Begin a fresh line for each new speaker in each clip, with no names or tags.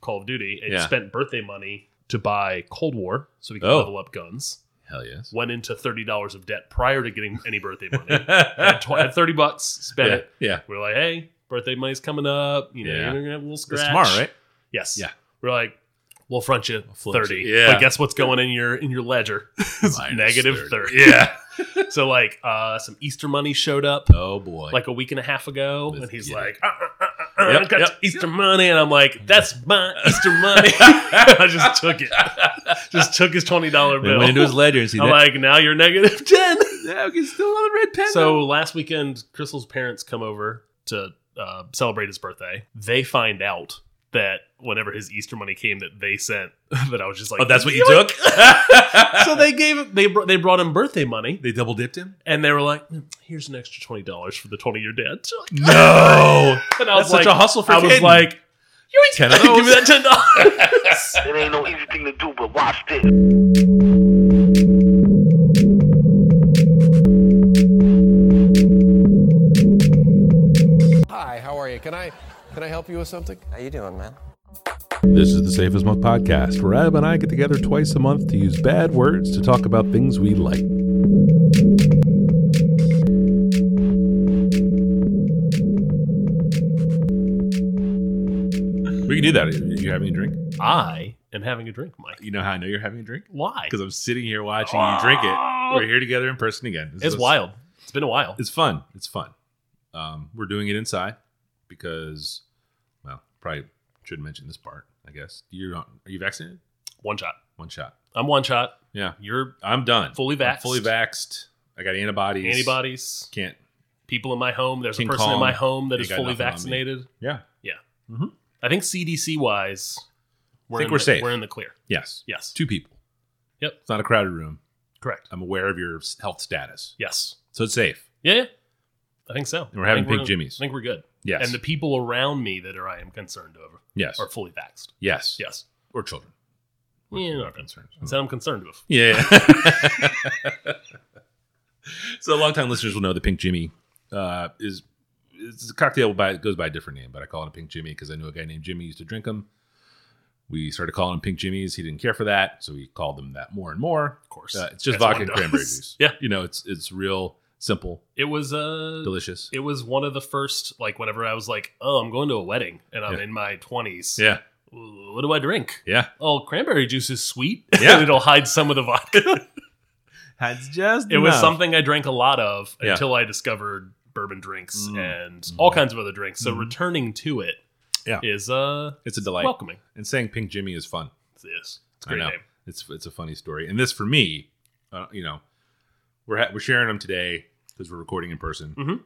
Call of Duty and
Yeah.
spent birthday money to buy Cold War so we could
Oh.
level up guns.
Hell yes.
Went into thirty dollars of debt prior to getting any birthday money. had, tw- had thirty bucks, spent
yeah.
it.
yeah.
We are like, hey, birthday money's coming up. You know,
Yeah.
you're gonna have a little
It's
scratch
tomorrow, right?
Yes.
Yeah.
We're like, we'll front you
front
thirty.
you. Yeah.
But guess what's going in your in your ledger? It's
Minus
negative
30.
thirty.
Yeah.
so like, uh, some Easter money showed up
Oh boy.
like a week and a half ago,
Let's
and he's
get
like, uh, uh, uh, uh,
Yep,
I got
yep,
Easter money, and I'm like, that's my Easter money. I just took it, just took his twenty dollar
they
bill.
went into his ledger and see
I'm
that.
like, now you're negative ten.
yeah, he's still on the red pen.
So last weekend, Crystal's parents come over to uh, celebrate his birthday. They find out that whenever his Easter money came, that they sent that I was just like,
oh, that's what you
"Yoink."
took.
So they gave they br- they brought him birthday money,
they double dipped him.
and they were like, "Hmm, "Here's an extra twenty dollars for the twenty year debt."
No,
And I was
that's such
like,
a hustle for
I was
Caden.
like,
you ain't ten of
"Give me that
those.
ten dollars."
It ain't no easy thing to do, but watch this.
Hi, how are you? Can I can I help you with something?
How you doing, man?
This is the Safest Month podcast, where Adam and I get together twice a month to use bad words to talk about things we like.
We can do that. You having a drink?
I am having a drink, Mike.
You know how I know you're having a drink
Why?
because I'm sitting here watching you drink it. We're here together in person again. This
It's
is-
wild. It's been a while.
It's fun. It's fun. Um, we're doing it inside because, well, probably should mention this part. I guess you're not, are you vaccinated?
One shot.
One shot.
I'm one shot.
Yeah,
You're
I'm done.
Fully
I'm
vaxxed.
fully vaxxed. I got antibodies.
antibodies.
Can't.
people in my home. There's
King
a person
Kong.
in my home that
Ain't
is
got
fully
nothing on me.
vaccinated.
Yeah.
I think CDC wise, we're
Think
in
we're
the,
safe.
We're in the clear.
Yes.
Yes,
Two people.
Yep.
It's not a crowded room.
correct.
I'm aware of your health status,
Yes,
so it's safe.
yeah, yeah. I think so.
And we're having
I think
Big Jimmies.
I think we're good.
Yes.
And the people around me that are I am concerned over
yes.
are fully vaxxed.
yes.
Yes.
Or children.
Yeah,
Not
okay.
concerned.
Said I'm concerned with.
Yeah. so longtime listeners will know that Pink Jimmy uh, is it's a cocktail by it goes by a different name, but I call it a Pink Jimmy because I knew a guy named Jimmy used to drink them. We started calling them Pink Jimmies. He didn't care for that, so we called them that more and more.
Of course,
Uh, it's just
As one
vodka and
does.
cranberry juice.
Yeah.
you know it's it's real simple,
It was uh,
delicious.
it was one of the first like whenever I was like, oh, I'm going to a wedding and I'm
Yeah.
in my twenties.
Yeah,
What do I drink?
yeah.
Oh, cranberry juice is sweet.
Yeah.
it'll hide some of the vodka.
That's just
It was something I drank a lot of
Yeah.
until I discovered bourbon drinks
Mm.
and
Mm.
all kinds of other drinks. So
Mhm.
returning to it is
Yeah.
uh
It's a delight,
welcoming.
and saying Pink Jimmy is fun.
It's, it's a
I
great
know.
name.
it's it's a funny story. And this for me, uh, you know, we're ha- we're sharing them today because we're recording in person.
Mhm.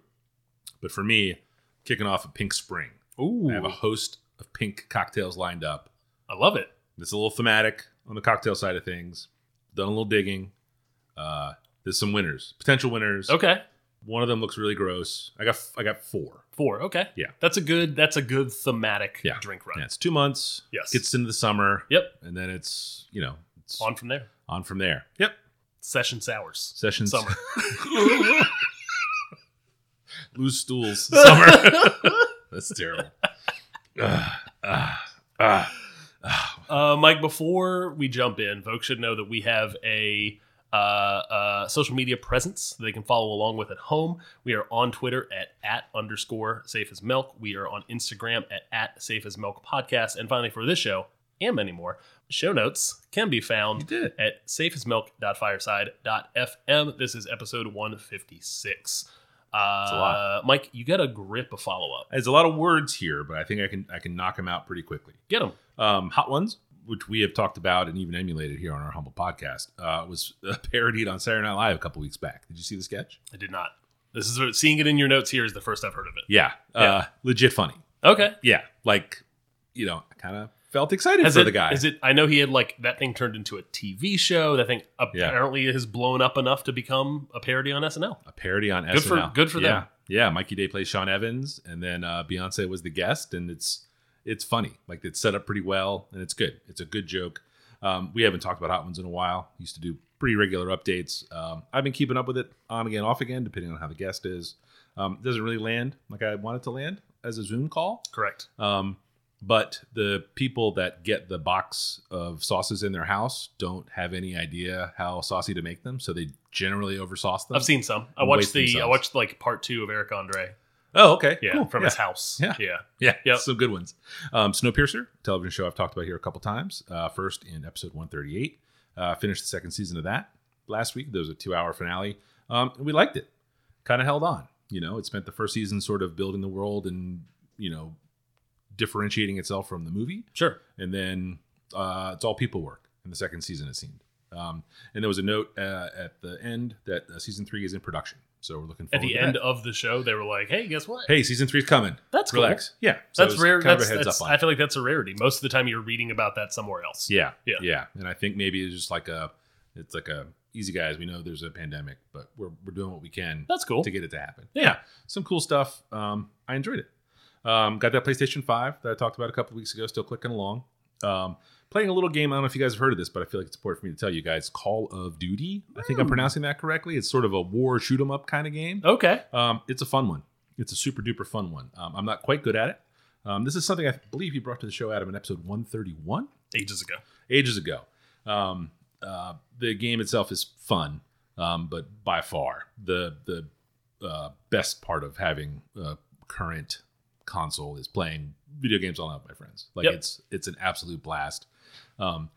But for me, kicking off a Pink Spring,
Ooh,
I have a host of pink cocktails lined up.
I love it.
It's a little thematic on the cocktail side of things. Done a little digging. Uh, there's some winners, potential winners.
Okay,
One of them looks really gross. I got f- I got four.
four. Okay,
Yeah.
that's a good that's a good thematic
Yeah.
drink run.
Yeah, it's two months.
Yes.
Gets into the summer,
Yep,
and then it's you know it's on,
on from there.
from there. Yep.
Session sours.
Sessions.
Summer.
loose stools summer. That's terrible. Ah, ah, ah.
Uh, Mike, before we jump in, folks should know that we have a uh, uh, social media presence that they can follow along with at home. We are on Twitter at at underscore safe as milk. We are on Instagram at at safe as milk podcast. And finally, for this show and many more, show notes can be found
did.
at safeasmilk.fireside.fm. This is episode 156. Uh,
lot.
Mike, you got a grip of follow up.
There's a lot of words here, but I think I can I can knock them out pretty quickly.
Get them.
Um, Hot Ones, which we have talked about and even emulated here on our humble podcast, uh, was uh, parodied on Saturday Night Live a couple weeks back. Did you see the sketch?
I did not. This is seeing it in your notes here is the first I've heard of it.
Yeah, Uh,
Yeah.
legit funny.
Okay.
Yeah, like you know, I kind of felt excited
Has
for
it,
the guy.
Is it? I know he had like that thing turned into a TV show. That thing apparently has blown up enough to become a parody on SNL.
a parody on
Good for-
SNL.
good for
yeah.
them.
Yeah, Mikey Day plays Sean Evans, and then uh, Beyonce was the guest, and it's it's funny. Like it's set up pretty well, and it's good. It's a good joke. Um, we haven't talked about hot ones in a while. Used to do pretty regular updates. Um, I've been keeping up with it on again, off again, depending on how the guest is. Um, it doesn't really land like I want it to land as a Zoom call.
Correct.
Um, but the people that get the box of sauces in their house don't have any idea how saucy to make them, so they generally oversauce them.
I've seen some. I
Waste
watched the I
themselves.
watched like part two of Eric Andre.
Oh, okay,
Yeah,
cool.
from
yeah.
his house.
Yeah.
yeah.
Yeah,
Yep.
some good ones. Um, Snowpiercer, television show I've talked about here a couple times. Uh, first in episode 138, uh, finished the second season of that last week. There was a two-hour finale. Um, and we liked it. Kind of held on. You know, it spent the first season sort of building the world and you know differentiating itself from the movie
Sure.
and then uh, it's all people work in the second season it seemed um, and there was a note uh, at the end that uh, season three is in production so we're looking forward
At the
to
end
that.
of the show, they were like, "Hey, guess what?
hey season three's coming
That's cool.
relax yeah so it
that's
was
rare.
kind
That's,
of a heads
that's-
up on
I
it.
feel like that's a rarity. Most of the time, you're reading about that somewhere else.
yeah
Yeah.
yeah and i think maybe it's just like a it's like a easy guys we know there's a pandemic but we're, we're doing what we can
that's cool.
to get it to happen
Yeah.
some cool stuff um, i enjoyed it um, got that playstation 5 that i talked about a couple weeks ago still clicking along um, playing a little game. I don't know if you guys have heard of this, but I feel like it's important for me to tell you guys. Call of Duty. I think I'm pronouncing that correctly. It's sort of a war shoot 'em up kind of game.
Okay.
Um, it's a fun one. It's a super duper fun one. Um, I'm not quite good at it. Um, this is something I believe you brought to the show, Adam, in episode 131
Ages ago.
ages ago. Um, uh, the game itself is fun, um, but by far the the uh, best part of having a current console is playing video games all out with my friends. Like
Yep.
it's it's an absolute blast. Um,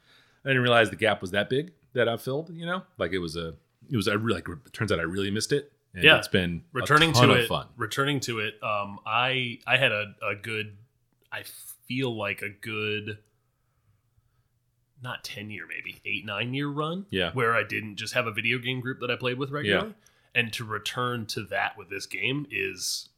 I didn't realize the gap was that big that I filled. You know, like it was a it was I really like it turns out I really missed it. And
Yeah.
it's been a
returning
ton
to
of
it
fun.
returning to it um i i had a, a good i feel like a good not 10 year maybe 8 9 year run
Yeah.
where i didn't just have a video game group that i played with regularly and to return to that with this game is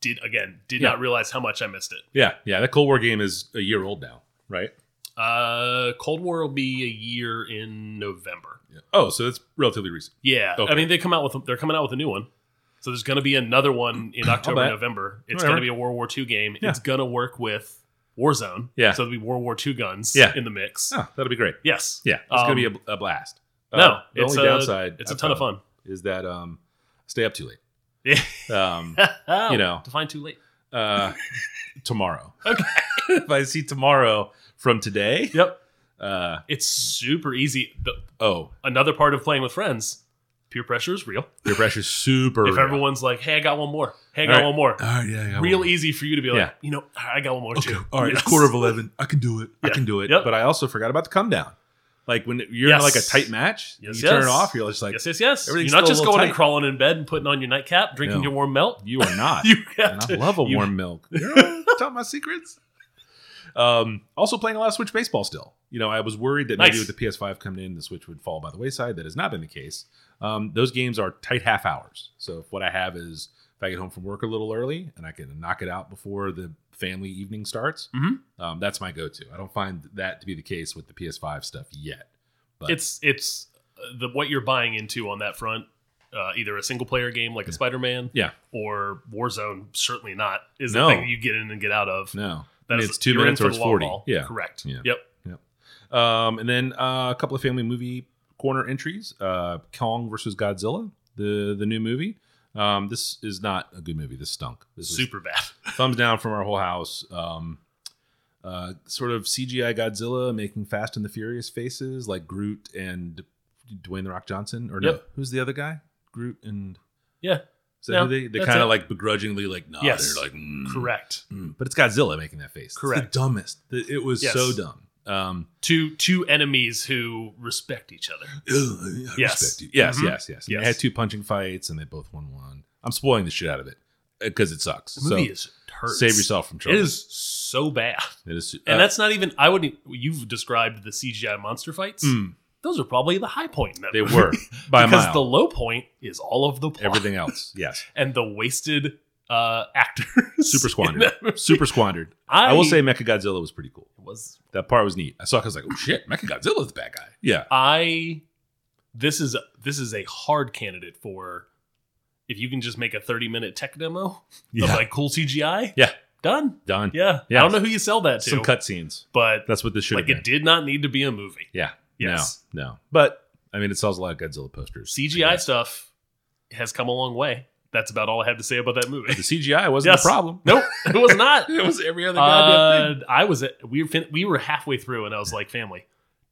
did again did
Yeah.
not realize how much i missed it
Yeah, yeah. That Cold War game is a year old now, right?
uh cold war will be a year in november
Yeah. Oh, so that's relatively recent.
yeah
Okay.
i mean they come out with they're coming out with a new one so there's going to be another one in October,
bet.
November. It's
Whatever.
going to be a World War II game.
Yeah.
It's going to work with Warzone.
Yeah.
So there'll be World War II guns
Yeah.
in the mix.
Oh, that'll be great.
Yes.
Yeah, it's
Um,
gonna be a, bl- a blast. Uh,
No,
the
it's
only
a-
downside
It's a
I
ton of
found
fun.
Is that um, stay up too
Yeah.
late. um,
you
know.
Define too late.
uh, tomorrow. Okay. if I see tomorrow from today,
Yep.
uh,
It's super easy. The,
oh,
another part of playing with friends, peer pressure is real.
your pressure's super.
if
real.
everyone's like, hey, I got one more. Hey, I got
All right.
one more.
All right, yeah, yeah,
real
well,
easy for you to be like,
Yeah.
you know, I got one more
Okay.
too.
All right,
Yes.
it's quarter of eleven. I can do it. I
Yeah.
can do it.
Yep.
But I also forgot about the come down. Like when you're in
Yes.
like a tight match,
Yes,
you turn it
yes.
off. You're just like,
Yes, yes, yes. You're
Everything's
not
still a
just
little
going and
tight.
crawling in bed and putting on your nightcap, drinking
No.
your warm milk.
you are not.
You have
and I
to.
love a
you-
warm milk. You know, tell my secrets. Um, also playing a lot of Switch baseball still. You know, I was worried that maybe
Nice.
with the PS5 coming in, the Switch would fall by the wayside. That has not been the case. Um, those games are tight half hours. So if what I have is if I get home from work a little early and I can knock it out before the family evening starts,
Mhm.
um, that's my go-to. I don't find that to be the case with the PS5 stuff yet. But
it's it's uh, the what you're buying into on that front. Uh, either a single player game like a Spider-Man,
Yeah.
or Warzone. Certainly not is
No.
the thing you get in and get out of.
no,
That
I mean,
is-
it's two
you're in
minutes
for
or it's
the long
forty.
haul.
Yeah,
correct.
Yeah.
Yep.
Um, and then uh, a couple of family movie corner entries: uh, Kong versus Godzilla, the the new movie. Um, this is not a good movie. This stunk. This is
Super bad.
thumbs down from our whole house. Um, uh, sort of CGI Godzilla making Fast and the Furious faces like Groot and Dwayne the Rock Johnson. Or no,
Yep.
who's the other guy? Groot and
Yeah.
Is that
No,
who they they
that's
kind
it.
of like begrudgingly like nah.
Yes.
They're like mm,
Correct.
mm. but it's Godzilla making that face. It's
Correct.
the dumbest. The- It was
Yes.
so dumb. Um,
Two two enemies who respect each other.
I
Yes.
respect you. Yes,
Mhm.
yes, yes. And They
Yes.
had two punching fights and they both won one. I'm spoiling the shit out of it because it sucks.
The movie
so
is hurts.
save yourself from
It
trouble.
is so bad,
It is
and
uh,
that's not even. I wouldn't. You've described the CGI monster fights.
mm,
Those are probably the high point. In that
they
movie.
were by a
because
mile.
the low point is all of the plot.
Everything else, yes,
and the wasted uh actors.
super
in
squandered,
that movie.
super squandered. I, will say, Mecha Godzilla was pretty cool.
it was
That part was neat. I saw it, I was like, oh shit, Mecha Godzilla's the bad guy. Yeah,
I this is this is a hard candidate for if you can just make a 30 minute tech demo of
yeah,
like cool CGI.
Yeah.
Done.
done.
Yeah.
Yeah.
I don't know who you sell that to.
Some cutscenes.
but
That's what this should
like
have been.
it did not need to be a movie.
Yeah,
Yes.
no, no. But I mean, it sells a lot of Godzilla posters. I
CGI
guess.
stuff has come a long way. That's about all I have to say about that movie.
The CGI wasn't
Yes.
the problem.
nope, it was not.
It was every other goddamn thing.
Uh, I was at, we were fin- we were halfway through, and I was like, "Family,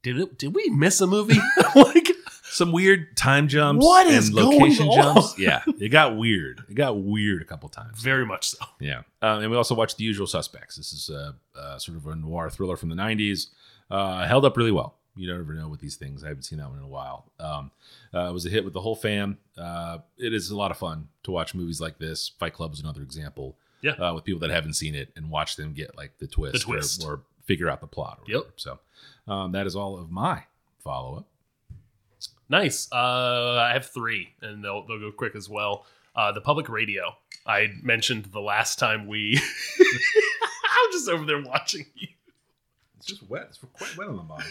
did it, did we miss a movie? like,
Some weird time jumps
What
and
is going
location
on?
jumps. Yeah, it got weird. It got weird a couple times.
very much so.
Yeah. Um, and we also watched The Usual Suspects. This is a, uh sort of a noir thriller from the 90s. Uh, held up really well. You don't ever know with these things. I haven't seen that one in a while. Um, uh, it was a hit with the whole fam. Uh, it is a lot of fun to watch movies like this. Fight Club is another example.
Yeah.
Uh, with people that haven't seen it and watch them get like the twist, or-
twist.
Or, figure out the plot. Or
Yep.
whatever. So um, that is all of my follow up.
Nice. Uh, I have three, and they'll they'll go quick as well. Uh, the public radio. I mentioned the last time we. I'm just over there watching you.
It's just wet. It's quite wet on the bottom.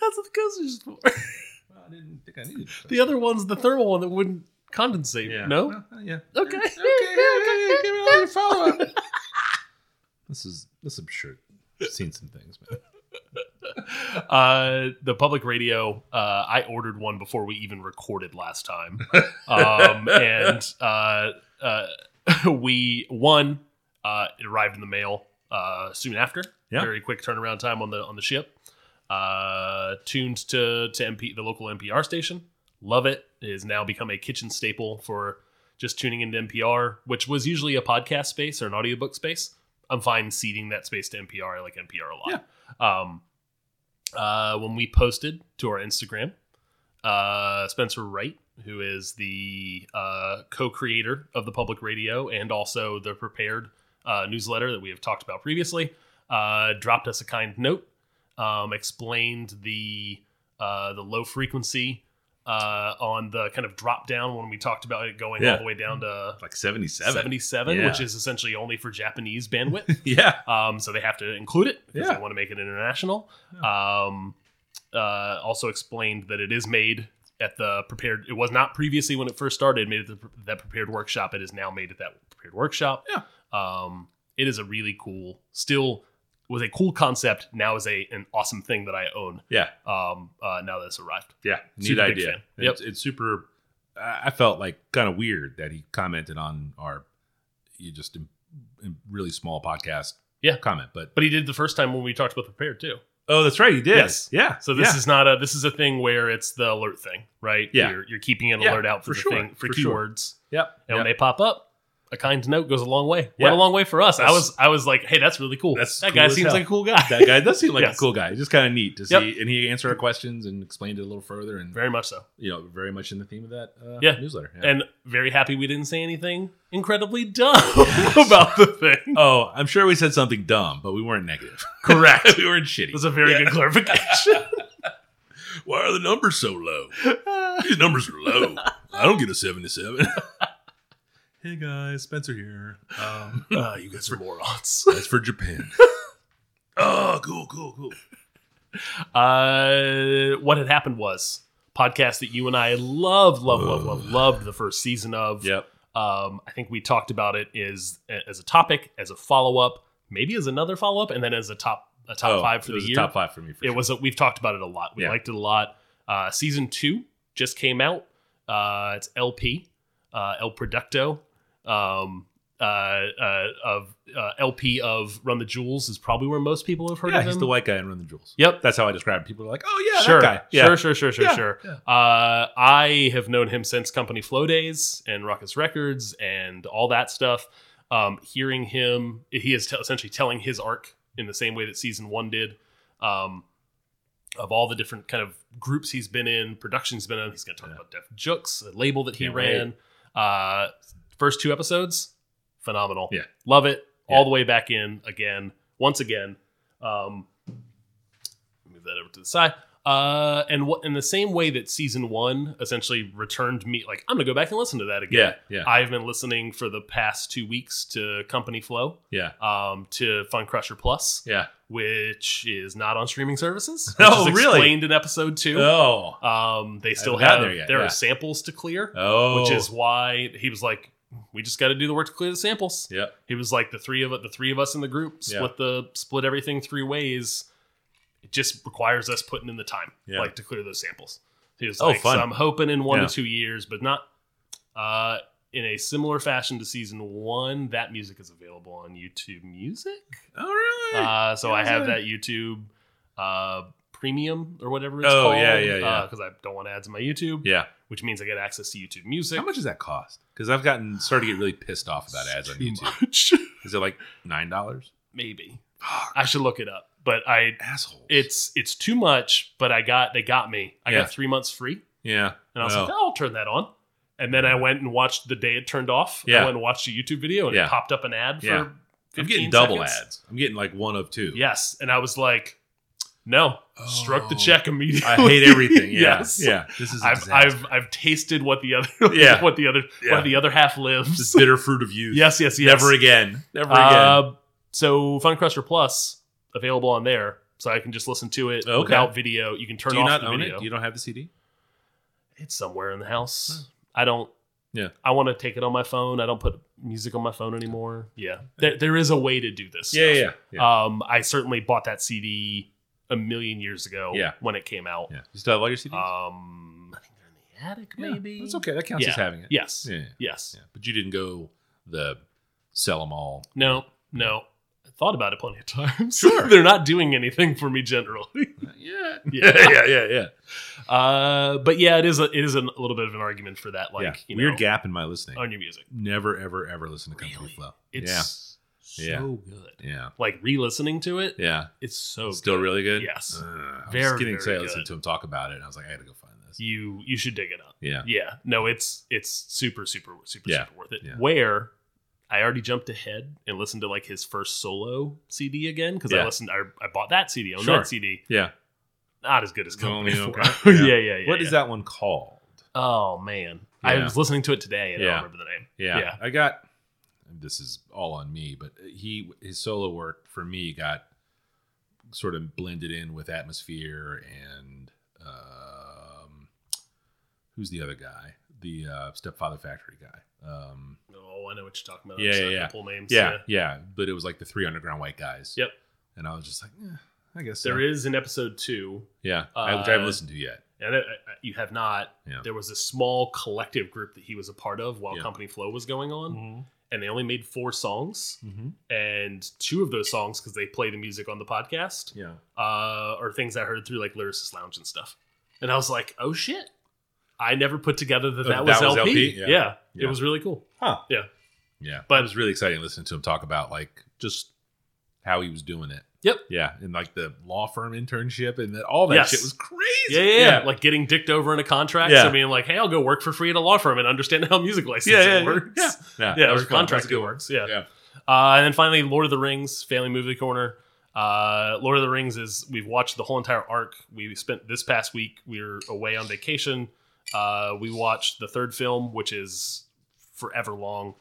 That's what the coaster's for.
I didn't think I needed
The other one's the thermal one that wouldn't condensate. No.
uh, yeah.
Okay.
give me all your follow up. this is this I'm sure I've seen some things, man.
Uh, the public radio. Uh, I ordered one before we even recorded last time, um, and uh, uh, we one uh, it arrived in the mail uh, soon after.
Yeah.
Very quick turnaround time on the on the ship. Uh, tuned to to MP the local NPR station. Love it. It has now become a kitchen staple for just tuning into NPR, which was usually a podcast space or an audiobook space. I'm fine ceding that space to NPR. I like NPR a lot. Um, uh, when we posted to our Instagram, uh, Spencer Wright, who is the uh, co-creator of the public radio and also the prepared uh, newsletter that we have talked about previously, uh, dropped us a kind note, um, explained the uh, the low frequency uh, on the kind of drop down when we talked about it going
Yeah.
all the way down to
Like 77.
77,
Yeah.
which is essentially only for Japanese bandwidth.
Yeah.
Um, so they have to include it because
Yeah.
they want to make it international. Um, uh, also explained that it is made at the prepared. It was not previously when it first started made at the, that prepared workshop. It is now made at that prepared workshop.
Yeah.
Um, it is a really cool. Still was a cool concept. Now is a an awesome thing that I own.
Yeah.
Um, uh, now that it's arrived.
Yeah. Neat
Super big
idea.
fan. Yep.
It's, it's super I I felt like kind of weird that he commented on our you just in, in really small podcast
Yeah.
comment, but
But he did the first time when we talked about prepared too.
Oh, that's right, he did.
Yes.
Yeah.
So this
Yeah.
is not a this is a thing where it's the alert thing, right?
Yeah.
You're, you're keeping an
Yeah,
alert out for,
for
the
sure,
thing for,
for sure.
keywords.
Yep.
and when
Yep.
they pop up, a kind note goes a long way.
Yeah.
Went a long way for us. I
That's-
was I was like, hey, that's really cool.
That's
that
cool
guy
as
seems
hell.
like a cool guy.
that guy does seem like
Yes.
a cool guy. It's just kind of neat to see,
Yep.
and he answered our questions and explained it a little further, and
very much so,
you know, very much in the theme of that uh,
Yeah.
newsletter. Yeah.
and very happy we didn't say anything incredibly dumb about the thing.
Oh, I'm sure we said something dumb, but we weren't negative.
Correct. It
we weren't shitty.
was a very good clarification.
Why are the numbers so low? These numbers are low. I don't get a 77. hey guys, Spencer here. Um,
Ah, you guys are morons.
that's for Japan. oh, cool, cool, cool.
Uh, what had happened was podcast that you and I love, love, love, love, loved the first season of.
Yep.
Um, I think we talked about it is as a topic, as a follow up, maybe as another follow up, and then as a top a top
Oh,
five for
it
the
was a
year.
Top five for me. For
it
sure.
was a, we've talked about it a lot. We
Yeah.
liked it a lot. Uh, season two just came out. Uh, it's LP, uh, El Producto, um, uh, uh, of uh, LP of Run the Jewels is probably where most people have heard
Yeah,
of him.
he's the white guy in Run the Jewels.
Yep.
That's how I describe it. People are like, oh, yeah,
sure.
that guy.
sure, sure, sure, sure,
Yeah,
sure, Uh, I have known him since Company Flow days and Ruckus Records and all that stuff. Um, hearing him, he is t- essentially telling his arc in the same way that season one did. Um, of all the different kind of groups he's been in, productions he's been in, he's going to talk
Yeah.
about Def Jux, the label that he
Can't wait.
ran. Uh, first two episodes, phenomenal.
Yeah.
love it all
Yeah.
the way back in again, once again. Um, move that over to the side. Uh, and what in the same way that season one essentially returned me, like I'm gonna go back and listen to that again.
Yeah, yeah,
I've been listening for the past two weeks to Company Flow,
yeah,
um, to Fun Crusher Plus,
yeah.
which is not on streaming services.
Oh,
which is
really?
Explained in episode two.
Oh,
Um, they still
haven't
have
gotten
there,
there yet,
are
yeah.
samples to clear,
oh,
which is why he was like, "We just got to do the work to clear the samples."
yeah,
He was like the three of the three of us in the group
Yeah.
split the split everything three ways. It just requires us putting in the time,
Yeah.
like to clear those samples. He was
Oh,
like,
fun.
so I'm hoping in one
Yeah.
to two years, but not Uh, in a similar fashion to season one, that music is available on YouTube Music.
Oh, really?
Uh, so I have
Yeah.
that YouTube uh, Premium or whatever it's
Oh,
called.
yeah, yeah, yeah.
Because I don't want ads on my YouTube,
yeah.
which means I get access to YouTube Music.
How much does that cost? Because I've gotten started to get really pissed off about ads on
Too
YouTube.
much.
Is it like nine dollars?
Maybe
Fuck,
I should look it up, but I
assholes.
it's it's too much. But I got they got me. I
Yeah.
got three months free,
yeah.
and I was
Well,
like, "Oh, I'll turn that on. And then I went and watched the day it turned off.
Yeah.
I went and watched a YouTube video, and
Yeah.
it popped up an ad for.
Yeah. I'm
15
getting double
seconds.
ads. I'm getting like one of two.
Yes, and I was like, "No, struck the
Oh.
check immediately."
I hate everything. Yeah.
Yes.
Yeah. This is. a
I've,
disaster.
I've I've tasted what the other
Yeah.
what the other
Yeah.
what the other half lives.
this bitter fruit of youth.
Yes, yes, yes.
Never again. Never again.
Uh, so Fun Cruster Plus available on there, so I can just listen to it
Okay.
without video. You can turn
Do you
off
not
the
own
video.
it? Do you don't have the CD?
It's somewhere in the house. I don't.
Hmm. Yeah.
I want to take it on my phone. I don't put music on my phone anymore. Yeah, there, there is a way to do this. stuff.
yeah.
Um, I certainly bought that CD a million years ago.
Yeah.
when it came out.
yeah. You still have all your CDs?
Um, I think they're in the attic,
Yeah,
maybe.
That's okay. That counts
Yeah.
as having it.
Yes.
Yeah. yeah,
Yes.
yeah. But you didn't go the sell them all.
No, no. I thought about it plenty of times.
Sure.
They're not doing anything for me generally.
Yeah.
Yeah.
yeah. Yeah. Yeah.
Uh, but yeah, it is a, it is an- a little bit of an argument for that, like
yeah.
you
Weird
know,
gap in my listening.
on your music.
Never, ever, ever listen to Come
Really?
Flow.
It's
Yeah.
so good.
yeah. Yeah.
Like re-listening to it,
Yeah.
it's so
Still
good.
really good?
Yes.
Uh, I was
Very,
getting
very
excited. I listened
good.
to him talk about it. And I was like, I gotta go find this.
You you should dig it up.
Yeah.
Yeah, no, it's it's super super super
Yeah.
super worth it.
Yeah.
Where I already jumped ahead and listened to like his first solo CD again because
Yeah.
I listened. I, I bought that CD on
Sure.
that CD.
Yeah.
Not as good as
The
Company.
only
Four.
okay.
yeah.
Yeah.
yeah, yeah,
What is that one called?
Oh man,
Yeah.
I was listening to it today and I
Yeah.
don't remember the name.
Yeah,
Yeah.
I got. This is all on me, but he his solo work for me got sort of blended in with atmosphere and um, who's the other guy? The uh, Stepfather Factory guy. Um,
Oh, I know what you're talking about.
Yeah,
I'm
yeah,
starting to
yeah.
Pull names.
yeah, yeah, but it was like the three underground white guys.
Yep.
And I was just like, eh, I guess
There
so.
is an episode two,
Yeah, I, which
uh,
I haven't listened to yet.
and I, I, you have not.
Yeah.
There was a small collective group that he was a part of while
Yeah.
Company Flow was going on,
Mm-hmm.
and they only made four songs. and two of those songs because they play the music on the podcast
Yeah.
uh, are things I heard through like Lyricist Lounge and stuff. And I was like, oh shit, I never put together that
Uh,
that, was, LP.
Yeah.
Yeah.
Yeah.
it was really cool.
Yeah. But
But-
it was really exciting listening to him talk about like just how he was doing it.
Yep.
Yeah. And like the law firm internship and that all that
Yes.
shit was crazy.
Yeah, yeah, yeah. Like getting dicked over in a contract.
Yeah.
So being like, hey, I'll go work for free at a law firm and understand how music licensing
yeah, yeah,
works. Yeah,
yeah. Yeah. that
or
was cool.
contract
That was a good
works. Yeah.
one. Yeah.
Uh, and then finally, Lord of the Rings, Family Movie Corner. Uh, Lord of the Rings is we've watched the whole entire arc. We spent this past week. We were away on vacation. Uh, we watched the third film, which is forever long.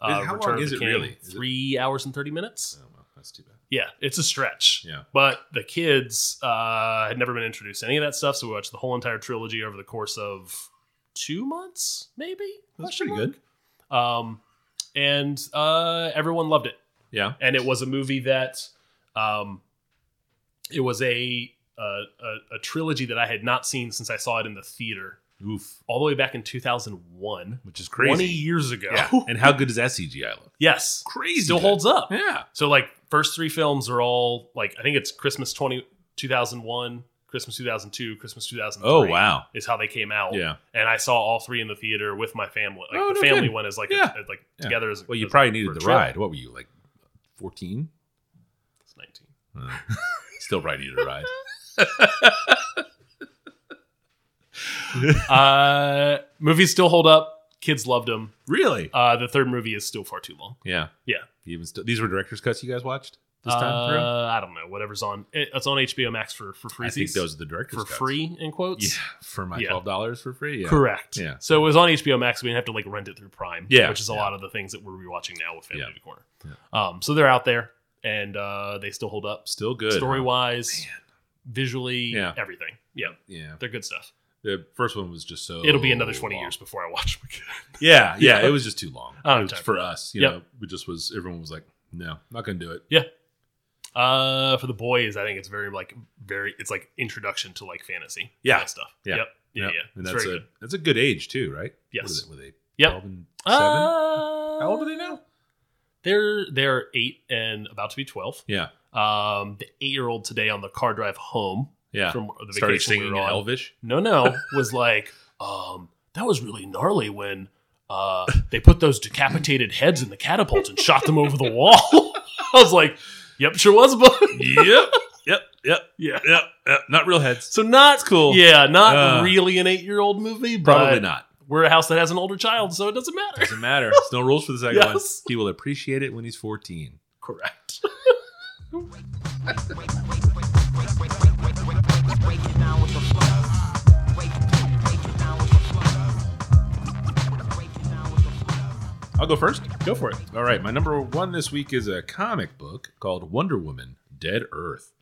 Uh,
Is- how long
of
is
the
it
King,
really? Is it-
Three hours and thirty minutes.
Oh, well, that's too bad.
Yeah, it's a stretch.
Yeah.
But the kids uh, had never been introduced to any of that stuff, so we watched the whole entire trilogy over the course of two months, maybe.
That's
Question
pretty good.
mark? Um, and uh, everyone loved it
Yeah.
and it was a movie that um it was a a, a a trilogy that I had not seen since I saw it in the theater
Oof.
all the way back in 2001
Which is
20
crazy.
years ago
Yeah. and how good does that CGI look?
yes
Crazy.
still holds up
Yeah.
so like first three films are all like I think it's Christmas 20 2001 Christmas 2002 Christmas 2003
Oh, wow.
is how they came out
Yeah.
and I saw all three in the theater with my family like
Oh,
the
no
family
kidding.
one is like a-
Yeah.
like
Yeah.
together as a-
Well, you
as a-
probably
for a
needed the
trip.
ride. What were you, like 14?
It's 19
Uh, Still probably needed a ride.
uh movies still hold up kids loved them
really?
uh the third movie is still far too long
Yeah.
Yeah.
Even still, these were director's cuts you guys watched this time
uh,
through?
i don't know whatever's on it- it's on hbo max for for free
I think those are the director's
for
cuts.
free in quotes
Yeah, for my
Yeah.
twelve dollars for free. Yeah.
correct
Yeah.
so it was on hbo max we didn't have to like rent it through prime
Yeah.
which is a
Yeah.
lot of the things that we're rewatching now with family
Yeah.
Movie corner um so they're out there and uh they still hold up
Still good.
story
huh?
wise visually
Yeah.
everything yeah
Yeah.
they're good stuff
The first one was just so.
it'll be another 20
long.
years before i watch them again
Yeah, yeah.
Yeah.
It was just too long.
I don't
It was
have time
for us, you
Yep.
know, we just was everyone was like, no, not gonna do it.
Uh, for the boys, I think it's very like very. It's like introduction to like fantasy.
Yeah.
and stuff.
Yeah.
Yep. Yeah.
Yep.
Yeah.
And
It's
that's
very
a
good.
that's a good age too, right?
Yes.
What is it? Were they
Yep.
12 and 7.
Uh,
How old are they now?
They're they're eight and about to be twelve.
Yeah.
Um, the eight year old today on the car drive home
Yeah.
from the
Started
vacation
singing
we were on.
Elvish.
No, no, was like, um, that was really gnarly when uh, they put those decapitated heads in the catapults and shot them over the wall. I was like, yep, sure was, but
yep. Yep. Yep.
yeah.
Yep. Yep. Not real heads.
So not
cool.
Yeah, not
Uh,
really an eight year old movie, but
Probably not.
We're a house that has an older child, so it doesn't matter.
Doesn't matter. There's no rules for the second one.
Yes.
He will appreciate it when he's 14.
Correct.
I'll go first.
Go for it.
All right, my number one this week is a comic book called Wonder Woman Dead Earth.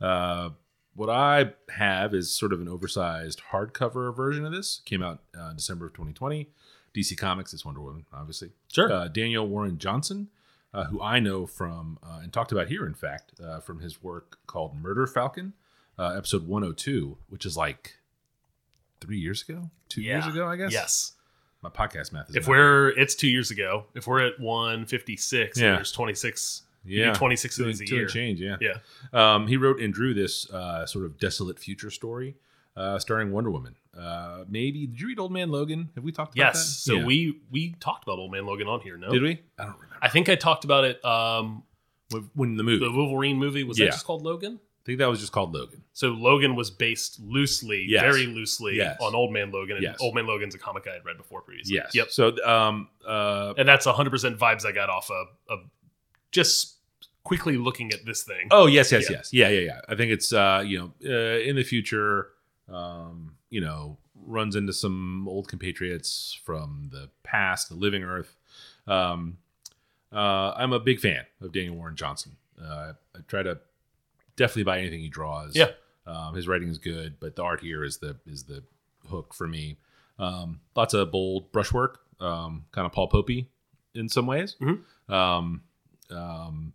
Uh, what I have is sort of an oversized hardcover version of this. Came out uh, in December of 2020. DC Comics, it's Wonder Woman, obviously.
Sure.
Uh, Daniel Warren Johnson, uh, who I know from, uh, and talked about here, in fact, uh, from his work called Murder Falcon, uh, episode 102, which is like three years ago, two years
Yeah.
ago, I guess.
Yes.
My podcast math is
If
not-
we're it's two years ago. If we're at one fifty six,
Yeah.
and there's twenty six. You do twenty six of
Two
these a
and- two
year.
and change, yeah.
Yeah.
Um, he wrote and drew this uh, sort of desolate future story uh, starring Wonder Woman. Uh, maybe did you read Old Man Logan? Have we talked about that?
Yes. So
Yeah.
we we talked about Old Man Logan on here. No,
did we? I don't remember
I think I talked about it. Um,
When- when the movie.
the Wolverine movie was
Yeah.
that just called Logan?
I think that was just called Logan.
So Logan was based loosely,
Yes.
very loosely,
Yes.
on Old Man Logan. And
Yes.
Old Man Logan's a comic I had read before previously.
Yes.
Yep.
So um, uh,
And that's 100 percent vibes I got off of, of just quickly looking at this thing.
Oh yes, yes,
Yeah.
yes, yeah, yeah, yeah. I think it's uh, you know uh, in the future, um, you know, runs into some old compatriots from the past, the living Earth. Um, uh, I'm a big fan of Daniel Warren Johnson. Uh, I try to definitely buy anything he draws.
Yeah.
um, his writing is good, but the art here is the is the hook for me. Um, lots of bold brushwork, um, kind of Paul Popey in some ways.
Mm-hmm.
Um, um,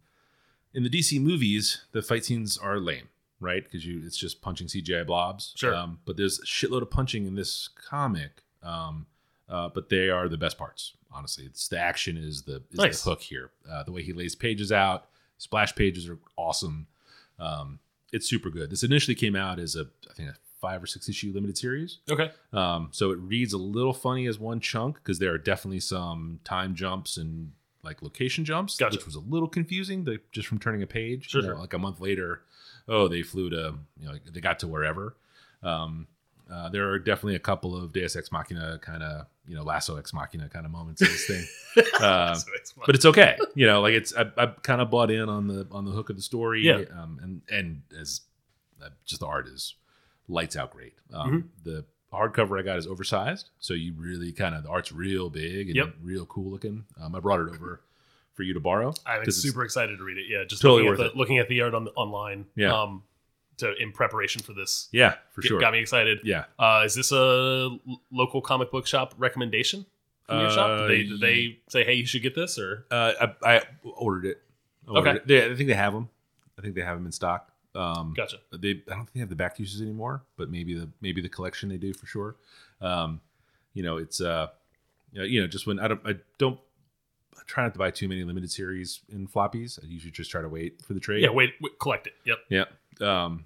in the DC movies, the fight scenes are lame, right? Because you it's just punching CGI blobs.
Sure.
Um, but there's a shitload of punching in this comic. Um, uh, but they are the best parts, honestly. It's the action is the is
Nice.
the hook here. Uh, the way he lays pages out, splash pages are awesome. Um, it's super good. This initially came out as a I think a five or six issue limited series.
Okay.
Um, so it reads a little funny as one chunk because there are definitely some time jumps and like location jumps,
Gotcha.
which was a little confusing like, just from turning a page.
Sure,
You know,
sure.
Like a month later, oh, they flew to, you know, they got to wherever. Um, uh, there are definitely a couple of Deus Ex Machina kind of, you know, Lasso Ex Machina kind of moments in this thing. Uh,
So it's-
but it's okay. You know, like it's I, I kind of bought in on the on the hook of the story.
Yeah.
Um, and and as uh, just the art is lights out great. Um,
Mm-hmm.
The hardcover I got is oversized, so you really kind of the art's real big and
Yep.
real cool looking. Um, I brought it over for you to borrow.
I'm
'cause it's-
super excited to read it. Yeah, just
Totally
looking, at
worth
the, looking at the art on online.
Yeah.
Um, to in preparation for this,
Yeah, for
Get-
sure.
got me excited.
Yeah.
Uh, is this a l- local comic book shop recommendation from your shop?
Uh,
Did they, did they say, hey, you should get this? Or
Uh, I, I ordered it. I ordered
Okay.
it. They, I think they have them. I think they have them in stock. Um,
gotcha.
they I don't think they have the back uses anymore, but maybe the maybe the collection they do for sure. Um, you know, it's uh, you know- you know, just when I don't I don't I try not to buy too many limited series in floppies. I usually just try to wait for the trade.
Yeah, wait, wait, collect it. Yep.
Yeah. Um,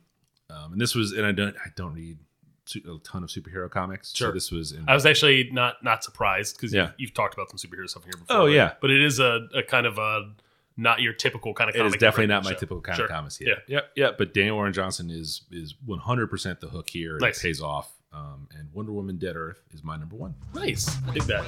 um, and this was, and I don't I don't read su- a ton of superhero comics. So
Sure.
this was in,
I was actually not not surprised because
Yeah.
you've, you've talked about some superhero stuff here before.
Oh,
right?
yeah.
but it is a, a kind of a not your typical kind of.
it
comic
is
book
definitely
writing
not my
show.
typical kind
Sure.
of comics.
Yeah.
Yeah. Yep. Yep. But Daniel Warren Johnson is is 100% the hook here. And
Nice.
It pays off. Um, and Wonder Woman Dead Earth is my number one.
Nice, dig that.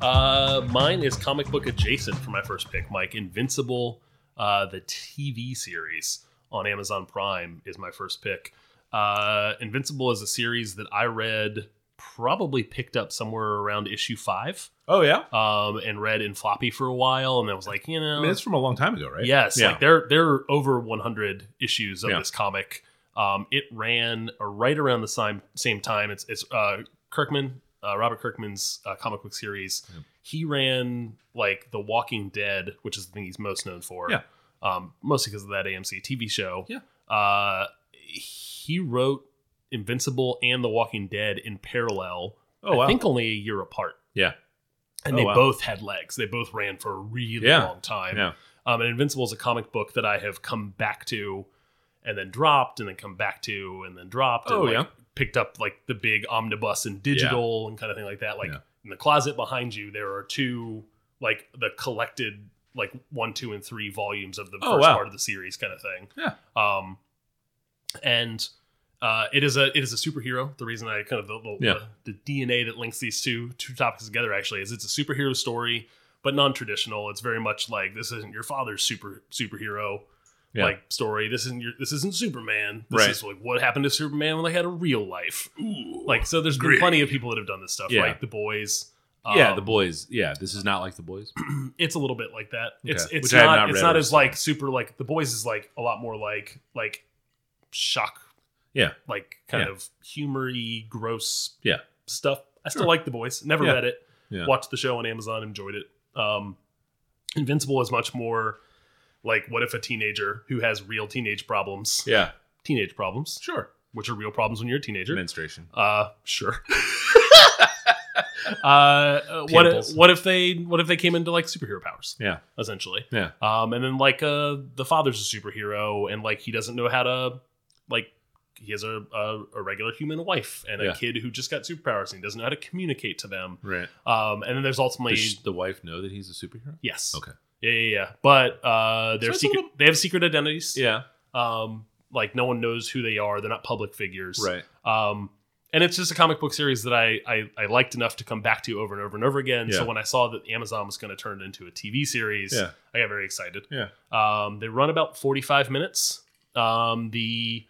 Uh, mine is comic book adjacent for my first pick, Mike. Invincible, uh, the TV series on Amazon Prime is my first pick. Uh, Invincible is a series that I read, probably picked up somewhere around issue five,
Oh yeah.
um, and read in floppy for a while, and I was like, you know,
I mean, it's from a long time ago, right?
Yes,
Yeah.
like there there are over 100 issues of
Yeah.
this comic. Um, it ran uh, right around the same same time. It's it's uh, Kirkman, uh, Robert Kirkman's uh, comic book series. He ran like The Walking Dead, which is the thing he's most known for.
Yeah.
um, mostly because of that AMC TV show.
Yeah.
Uh, he wrote Invincible and The Walking Dead in parallel.
Oh, wow.
I think only a year apart.
Yeah.
And
Oh,
they
wow.
both had legs. They both ran for a really
Yeah.
long time.
Yeah.
Um, and Invincible is a comic book that I have come back to and then dropped and then come back to and then dropped. And
Oh,
like,
yeah.
Picked up like the big omnibus and digital and kind of thing like that. Like
Yeah.
in the closet behind you, there are two, like the collected, like one, two, and three volumes of the
Oh,
first
wow.
part of the series kind of thing.
Yeah.
Um, and uh, it is a it is a superhero. The reason I kind of the, the,
Yeah.
the DNA that links these two two topics together actually is it's a superhero story, but non traditional. It's very much like this isn't your father's super superhero
Yeah.
like story. This isn't your this isn't Superman. This
Right.
is like what happened to Superman when they had a real life. like so, there's been
gritty.
plenty of people that have done this stuff,
Yeah.
like the boys.
yeah,
Um,
the boys. Yeah, this is not like the boys.
it's a little bit like that. It's
Okay.
it's
Which I have
not,
not
it's
read
not
or
as like super like the boys is like a lot more like like shock
Yeah.
like kind
Yeah.
of humory gross
Yeah.
stuff. I still
Sure.
like the boys. Never
Yeah.
read it.
Yeah.
Watched the show on Amazon, enjoyed it. Um Invincible is much more like what if a teenager who has real teenage problems,
Yeah.
teenage problems,
Sure.
which are real problems when you're a teenager.
Menstruation.
Uh, sure. uh, what if,
Tampons.
what if they what if they came into like superhero powers?
Yeah.
essentially.
Yeah.
Um, and then like uh, the father's a superhero, and like he doesn't know how to like he has a a, a regular human wife and a
Yeah.
kid who just got superpowers, and he doesn't know how to communicate to them.
Right.
Um, and then there's ultimately
Does sh- the wife know that he's a superhero?
yes,
Okay.
yeah, yeah, yeah. But uh, they're
it's a
secret.
little-
They have secret identities.
Yeah.
Um, like no one knows who they are. They're not public figures.
Right.
Um, and it's just a comic book series that I, I I liked enough to come back to over and over and over again. So
Yeah.
when I saw that Amazon was going to turn it into a TV series,
Yeah.
I got very excited.
Yeah.
Um, they run about 45 minutes. Um, the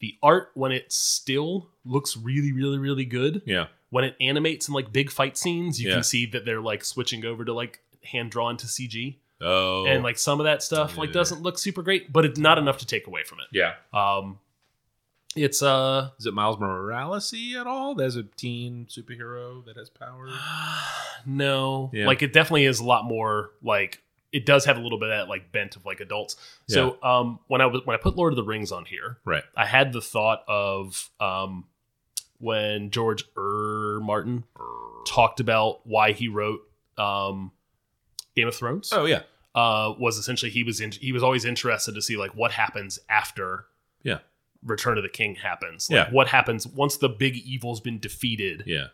the art when it's still looks really really really good.
Yeah.
When it animates in like big fight scenes, you
Yeah.
can see that they're like switching over to like hand drawn to CG.
Oh.
And like some of that stuff like
Yeah.
doesn't look super great, but it's not enough to take away from it.
Yeah.
Um it's uh
Is it Miles Morales at all? There's a teen superhero that has powers.
No,
Yeah.
like it definitely is a lot more like it does have a little bit of that like bent of like adults. So um when I was when I put Lord of the Rings on here,
Right.
I had the thought of um when George R. Martin talked about why he wrote um Game of Thrones
Oh yeah.
uh, was essentially he was in, he was always interested to see like what happens after
Yeah.
Return of the King happens. Like
Yeah.
what happens once the big evil's been defeated?
Yeah.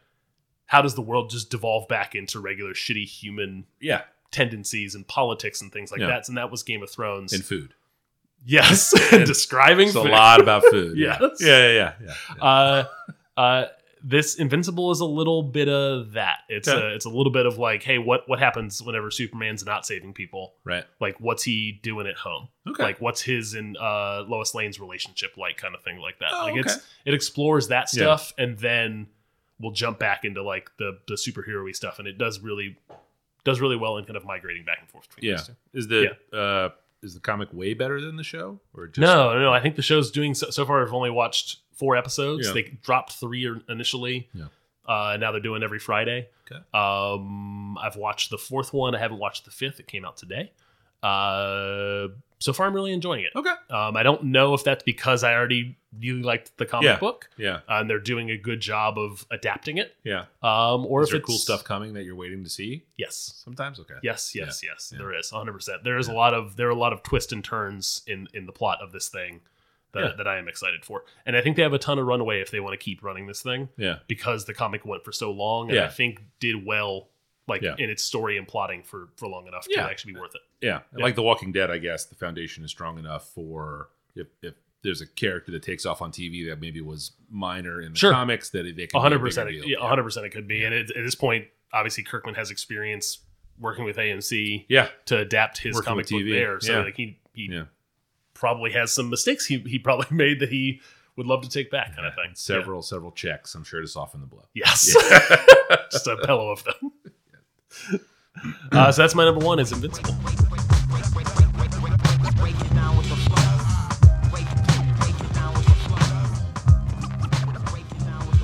how does the world just devolve back into regular shitty human
Yeah.
tendencies and politics and things like
Yeah.
that? And that was Game of Thrones.
And food.
yes, describing
It's a
food.
lot about food.
Yes.
Yeah. Yeah. Yeah. yeah, yeah.
Uh, uh, this Invincible is a little bit of that. It's
Okay.
a it's a little bit of like, hey, what what happens whenever Superman's not saving people?
right.
Like, what's he doing at home?
Okay.
Like, what's his and uh, Lois Lane's relationship like? Kind of thing like that.
Oh,
like,
okay.
it's it explores that
Yeah.
stuff, and then we'll jump back into like the the superhero-y stuff, and it does really does really well in kind of migrating back and forth. Between
yeah.
those two.
Is the uh is the comic way better than the show or just
No, no, no, I think the show's doing so, so far. I've only watched four episodes.
Yeah.
They dropped three or- initially.
Yeah.
Uh, now they're doing every Friday.
Okay.
Um, I've watched the fourth one. I haven't watched the fifth. It came out today. Uh, so far, I'm really enjoying it.
Okay.
Um, I don't know if that's because I already really liked the comic
Yeah.
book
Yeah.
uh, and they're doing a good job of adapting it,
Yeah.
um, or
Or
if
is there
it's
cool stuff coming that you're waiting to see?
Yes.
Sometimes. Okay.
Yes, yes, yes.
yeah.
There is 100%. There is a lot of there are a lot of twists and turns in in the plot of this thing that,
Yeah.
that I am excited for. And I think they have a ton of runway if they want to keep running this thing
Yeah.
because the comic went for so long and
Yeah.
I think did well like
Yeah.
in its story and plotting for for long enough
Yeah.
to actually be worth it.
Yeah. And
Yeah.
Like The Walking Dead, I guess the foundation is strong enough for if, if there's a character that takes off on TV that maybe was minor in the
Sure.
comics that it, they can
100%
make a
it-
bigger deal.
yeah, 100% it could be. And it, at this point obviously Kirkman has experience working with AMC
Yeah.
to adapt his
Working
comic
with
book
TV.
there so
Yeah.
like he he
Yeah.
probably has some mistakes he he probably made that he would love to take back kind of thing.
And several, several checks, I'm sure, to soften the blow.
Yes. Just a pillow of them. Uh, so that's my number one is Invincible.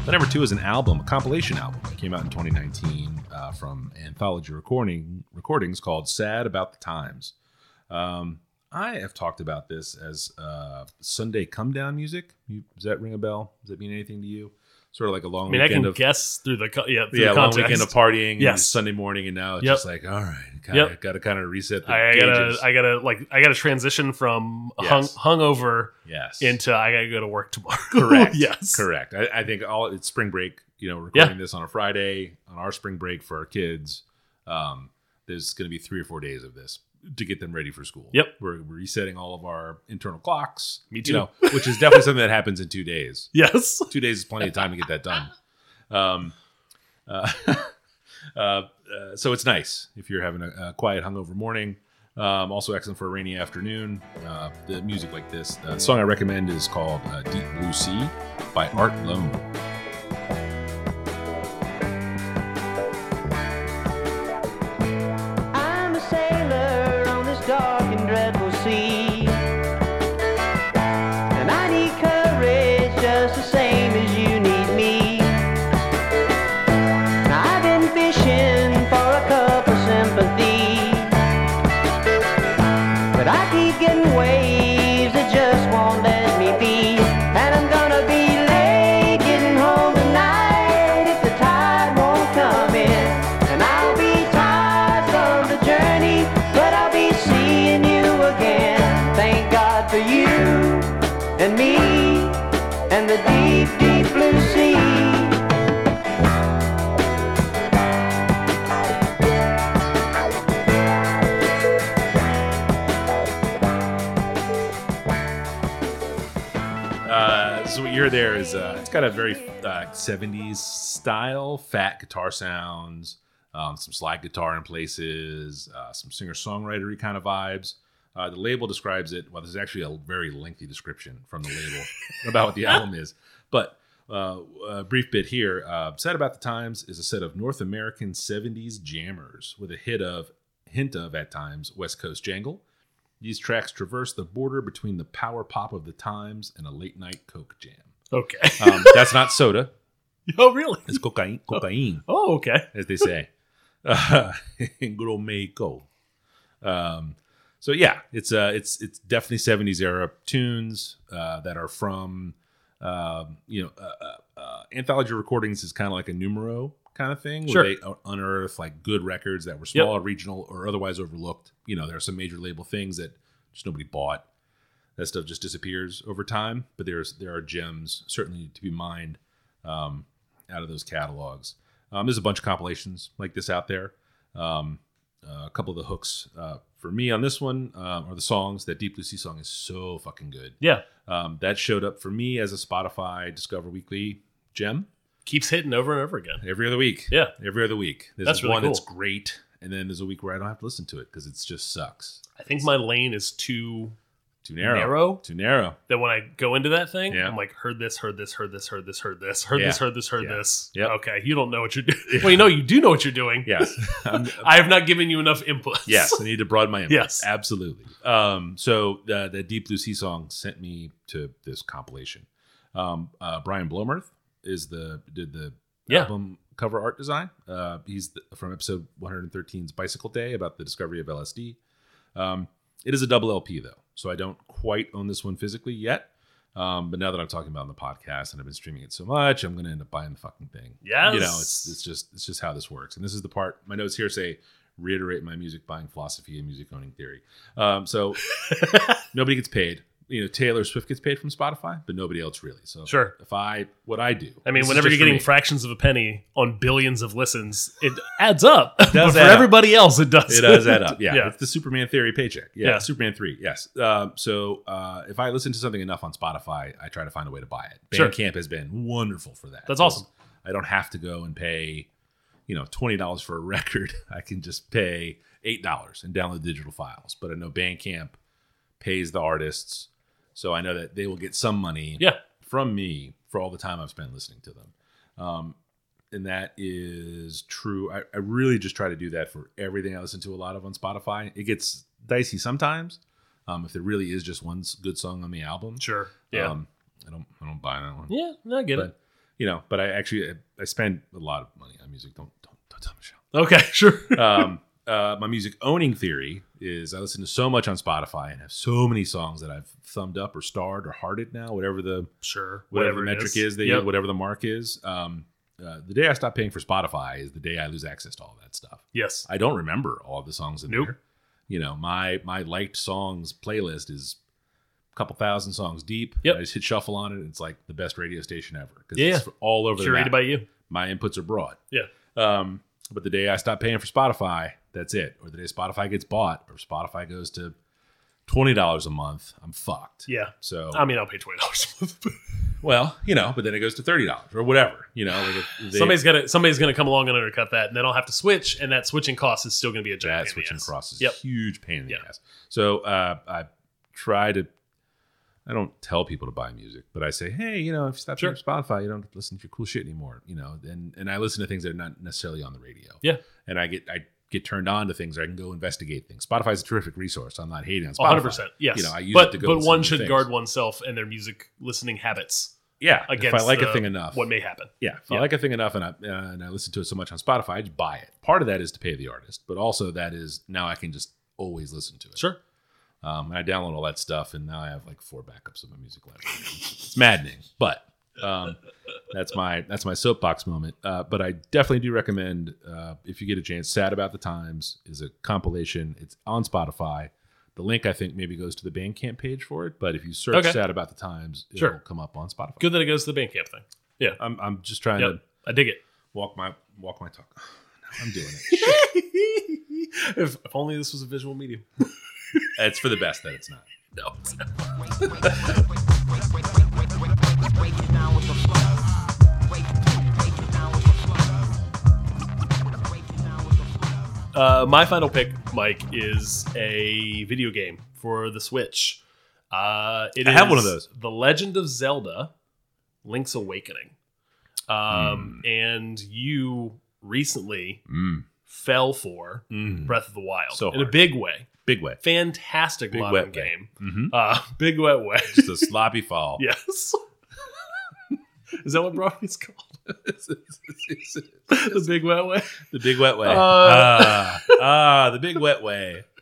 The number two is an album, a compilation album. It came out in 2019 uh, from Anthology Recording Recordings called "Sad About the Times." Um, I have talked about this as uh, Sunday come down music. You, does that ring a bell? Does that mean anything to you? Sort of like a long
I mean, I
weekend
can
of
guess through the co- yeah, through
yeah,
the
long
context.
weekend of partying. Yeah,
Yes.
Sunday morning, and now it's
Yep.
just like, all right, gotta,
Yep.
gotta kind of reset the
I, I gotta,
gauges.
I gotta like, I gotta transition from
Yes.
hung hungover
yes,
into I gotta go to work tomorrow.
correct.
yes.
correct. I, I think all it's spring break. You know,
Yeah.
recording this on a Friday on our spring break for our kids. Um, there's going to be three or four days of this to get them ready for school.
Yep.
we're we're resetting all of our internal clocks.
Me
you
too.
know, which is definitely something that happens in two days.
Yes.
two days is plenty of time to get that done. Um, uh, uh, uh, so it's nice if you're having a, a quiet, hungover morning. Um, also excellent for a rainy afternoon. Uh, the music like this. The song I recommend is called uh, "Deep Blue Sea" by Art Loam.
I'm a sailor on this dark and dreadful sea. And I need courage just the same as you need me. Now I've been fishing for a cup of sympathy. But I keep getting waves that just won't let me be. And I'm gonna be late getting home tonight if the tide won't come in. And I'll be tired from the journey, but I'll be seeing you again. Thank God for you and me and the deep, deep blue sea.
Uh, so what you're there is uh, it's got a very uh, 70s style, fat guitar sounds, um, some slide guitar in places, uh, some singer songwritery kind of vibes. Uh, the label describes it. Well, there's actually a very lengthy description from the label about what the album is, but uh, a brief bit here. Uh, Set About the Times is a set of North American 70s jammers with a hit of hint of at times West Coast jangle. These tracks traverse the border between the power pop of the times and a late night coke jam.
Okay.
Um, that's not soda;
oh, really?
it's cocaine, cocaine,
Oh, okay.
as they say uh, in good old Mexico. Um, so yeah, it's uh, it's it's definitely '70s era tunes uh, that are from um, you know uh, uh, uh, anthology recordings is kind of like a numero kind of thing
Sure.
where they un- unearth like good records that were small, regional, or otherwise overlooked. You know, there are some major label things that just nobody bought. That stuff just disappears over time, but there's there are gems certainly to be mined um, out of those catalogs. Um, there's a bunch of compilations like this out there. Um, uh, a couple of the hooks uh, for me on this one um, are the songs. That Deep Blue Sea song is so fucking good.
Yeah.
Um, that showed up for me as a Spotify Discover Weekly gem
Keeps hitting over and over again.
every other week.
Yeah.
Every other week. There's
That's really
one that's
cool.
great, and then there's a week where I don't have to listen to it because it just sucks.
I think my lane is too.
Too narrow.
Narrow?
Too narrow.
That when I go into that thing,
Yeah.
I'm like, heard this, heard this, heard this, heard this, heard this, heard
Yeah.
this, heard this, heard
Yeah.
this.
Yep.
Okay, you don't know what you're doing. Well, you know, you do know what you're doing.
Yes. I'm-
I have not given you enough input.
Yes, I need to broaden my input.
Yes.
absolutely. Um, so the, the Deep Blue Sea song sent me to this compilation. Um, uh, Brian Blomerth is the did the
Yeah.
album cover art design. Uh, he's the, from episode 113's Bicycle Day about the discovery of LSD. Um, it is a double LP though, so I don't quite own this one physically yet. Um, but now that I'm talking about it on the podcast and I've been streaming it so much, I'm gonna end up buying the fucking thing.
Yes.
you know, it's it's just it's just how this works. And this is the part my notes here say reiterate my music buying philosophy and music owning theory. Um, so nobody gets paid. You know, Taylor Swift gets paid from Spotify, but nobody else really. So
Sure.
if I what I do,
I mean,
this is
whenever
just
you're
for
getting
me.
fractions of a penny on billions of listens, it adds up. but
does
for
add up.
everybody else, it does.
it does add up. Yeah,
Yeah.
it's the Superman theory paycheck. Yeah,
Yeah.
Superman three. Yes. Um, so uh, if I listen to something enough on Spotify, I try to find a way to buy it.
Sure.
Bandcamp has been wonderful for that.
That's
'Cause
awesome.
I don't have to go and pay, you know, twenty dollars for a record. I can just pay eight dollars and download digital files. But I know Bandcamp pays the artists, so I know that they will get some money
Yeah.
from me for all the time I've spent listening to them. Um, and that is true. I, I really just try to do that for everything I listen to a lot of on Spotify. It gets dicey sometimes. Um, if there really is just one s- good song on the album,
Sure. Yeah.
Um, I don't. I don't buy that one.
yeah. No, I get it.
But you know, but I actually I, I spend a lot of money on music. Don't don't don't tell Michelle
Okay. Sure.
um, uh, my music owning theory is I listen to so much on Spotify and have so many songs that I've thumbed up or starred or hearted now, whatever the
Sure.
whatever, the
it
metric is, they
Yep.
whatever the mark is. Um, uh, the day I stop paying for Spotify is the day I lose access to all that stuff.
Yes.
I don't remember all the songs in
Nope.
there. You know, my my liked songs playlist is a couple thousand songs deep.
Yep.
I just hit shuffle on it, and it's like the best radio station ever because
Yeah.
it's all over the
Curated
map.
by you.
my inputs are broad.
Yeah.
Um, but the day I stop paying for Spotify, that's it. Or the day Spotify gets bought, or Spotify goes to twenty dollars a month, I'm fucked.
Yeah.
So
I mean, I'll pay twenty dollars a month. but
well, you know, but then it goes to thirty dollars or whatever. You know, like if they,
somebody's gonna somebody's gonna come along and undercut that, and then I'll have to switch, and that switching cost is still gonna be a giant.
that
pain in the
switching
ass.
across is a
Yep.
huge pain in the
Yeah.
ass. So uh, I try to. I don't tell people to buy music, but I say, hey, you know, if you stop
Sure.
paying for Spotify, you don't have to listen to your cool shit anymore. You know, and and I listen to things that are not necessarily on the radio.
Yeah.
and I get I get turned on to things, or I can go investigate things. Spotify is a terrific resource. I'm not hating on Spotify.
One hundred percent. Yes.
You know, I use
but
it to go.
but
listen
one
to
should
things.
guard oneself and their music listening habits
Yeah,
against.
if I like
the-
a thing enough,
what may happen?
Yeah, if
Yeah.
I like a thing enough and I, uh, and I listen to it so much on Spotify, I just buy it. Part of that is to pay the artist, but also that is now I can just always listen to it.
Sure.
Um, and I download all that stuff, and now I have like four backups of my music library. it's maddening, but um, that's my that's my soapbox moment. Uh, but I definitely do recommend uh, if you get a chance. Sad about the times is a compilation. It's on Spotify. The link I think maybe goes to the Bandcamp page for it, but if you search
Okay.
"Sad About the Times," it'll
Sure.
come up on Spotify.
Good that it goes to the Bandcamp thing. Yeah.
I'm I'm just trying to
Yep. I dig it.
walk my walk my talk. I'm doing it.
if, if only this was a visual medium.
it's for the best that it's not.
No. it's not. Uh, my final pick, Mike, is a video game for the Switch. Uh, it
I have
is
one of those.
The Legend of Zelda: Link's Awakening. Um,
Hmm.
And you recently
Mm.
fell for
Mm.
Breath of the Wild
So
in a
hard.
big way.
Big way.
Fantastic
Big
modern
wet way.
game.
Mm-hmm.
Uh, big wet way.
Just a sloppy fall.
yes. is that what Broadway's called?
the
the big wet way.
big wet way.
Uh.
ah, ah, the big wet way.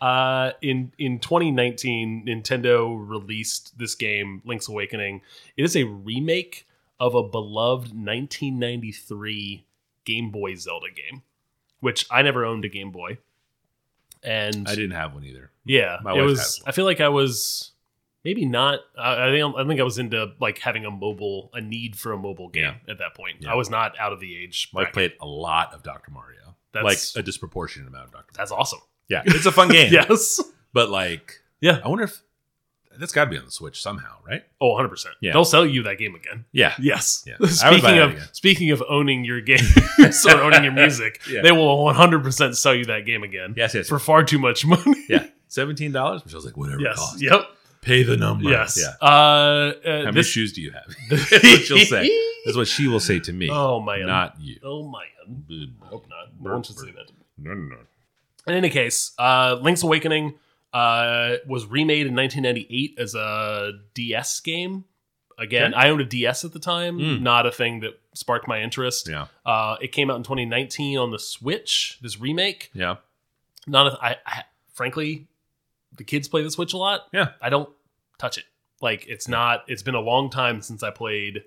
Uh, in in 2019, Nintendo released this game, Link's Awakening. It is a remake of a beloved 1993 Game Boy Zelda game, which I never owned a Game Boy. And
I didn't have one either.
Yeah,
My
it
wife
was.
has
I feel like I was maybe not. I, I think I think I was into like having a mobile, a need for a mobile game at that point.
Yeah.
I was not out of the age.
I
bracket.
played a lot of Dr. Mario.
That's-
like a disproportionate amount of Dr. Mario.
That's awesome.
Yeah, it's a fun game.
Yes.
But like,
Yeah.
I wonder if that's got to be on the Switch somehow, right?
Oh, 100 percent.
Yeah.
They'll sell you that game again.
Yeah.
Yes.
Yeah. I would buy
Speaking
that
of
again.
speaking of owning your games or owning your music,
Yeah.
they will 100 percent sell you that game again.
Yes, yes,
For far too much money.
Yeah. $17, which I was like, whatever it
Yes.
costs.
Yep.
Pay the number.
Yes.
Yeah.
Uh, uh,
How many
this-
shoes do you have? That's what she'll say. That's what she will say to me.
Oh man.
not you.
Oh man.
Mm-hmm.
I hope not. No one should say that.
No, no, no.
In any case, uh, Link's Awakening uh, was remade in 1998 as a DS game. Again, I owned a DS at the time,
Mm.
not a thing that sparked my interest.
Yeah,
Uh, it came out in 2019 on the Switch. This remake,
yeah.
not a, I, I frankly, the kids play the Switch a lot.
Yeah.
I don't touch it. Like it's not. It's been a long time since I played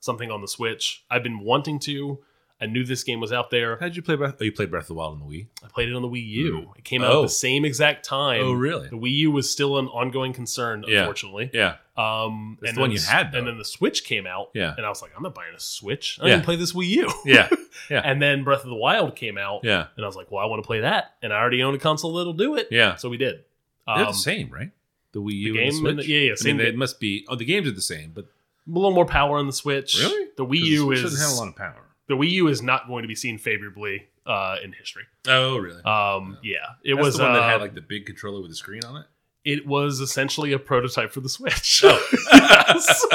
something on the Switch. I've been wanting to. I knew this game was out there.
How did you play Breath? Oh, you played Breath of the Wild on the Wii.
I played it on the Wii U. It came out at
Oh.
the same exact time.
Oh, really?
The Wii U was still an ongoing concern,
Yeah.
unfortunately.
Yeah,
Um,
That's
and
the
then
one you
s-
had, though.
and then the Switch came out.
Yeah.
and I was like, I'm not buying a Switch. I
Yeah.
can play this Wii U.
yeah,
and then Breath of the Wild came out.
yeah,
and I was like, well, I want to play that, and I already own a console that'll do it.
yeah.
so we did.
They're
Um,
the same, right? The Wii U
game
and
and
the Switch.
the- yeah, yeah,
I mean,
same
they
game.
must be. Oh, the games are the same, but
a little more power on the Switch.
Really?
the
'cause
Wii
the
U
Switch
is
doesn't have a lot of power.
the Wii U is not going to be seen favorably uh, in history.
Oh, really?
Um, yeah. it
That's
was
the one that
uh,
had like the big controller with the screen on it.
it was essentially a prototype for the Switch.
Oh.
Yes.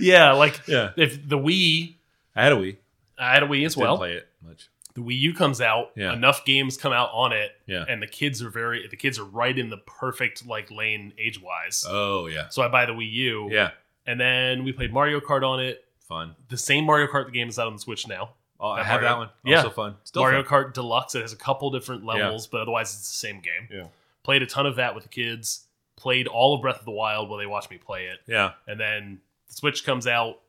yeah, like
Yeah,
if the Wii,
I had a Wii.
I had a Wii as
Didn't
well.
play it much.
The Wii U comes out,
Yeah.
enough games come out on it,
Yeah.
and the kids are very the kids are right in the perfect like lane age wise.
Oh, yeah,
so I buy the Wii U,
yeah.
and then we played Mario Kart on it.
Fun.
The same Mario Kart the game is out on the Switch now.
Oh, I
That
have
Mario-
that one.
Yeah.
Also fun. Still
Mario
fun.
Kart Deluxe. It has a couple different levels, but otherwise it's the same game.
Yeah.
Played a ton of that with the kids. Played all of Breath of the Wild while they watched me play it,
Yeah.
and then the Switch comes out.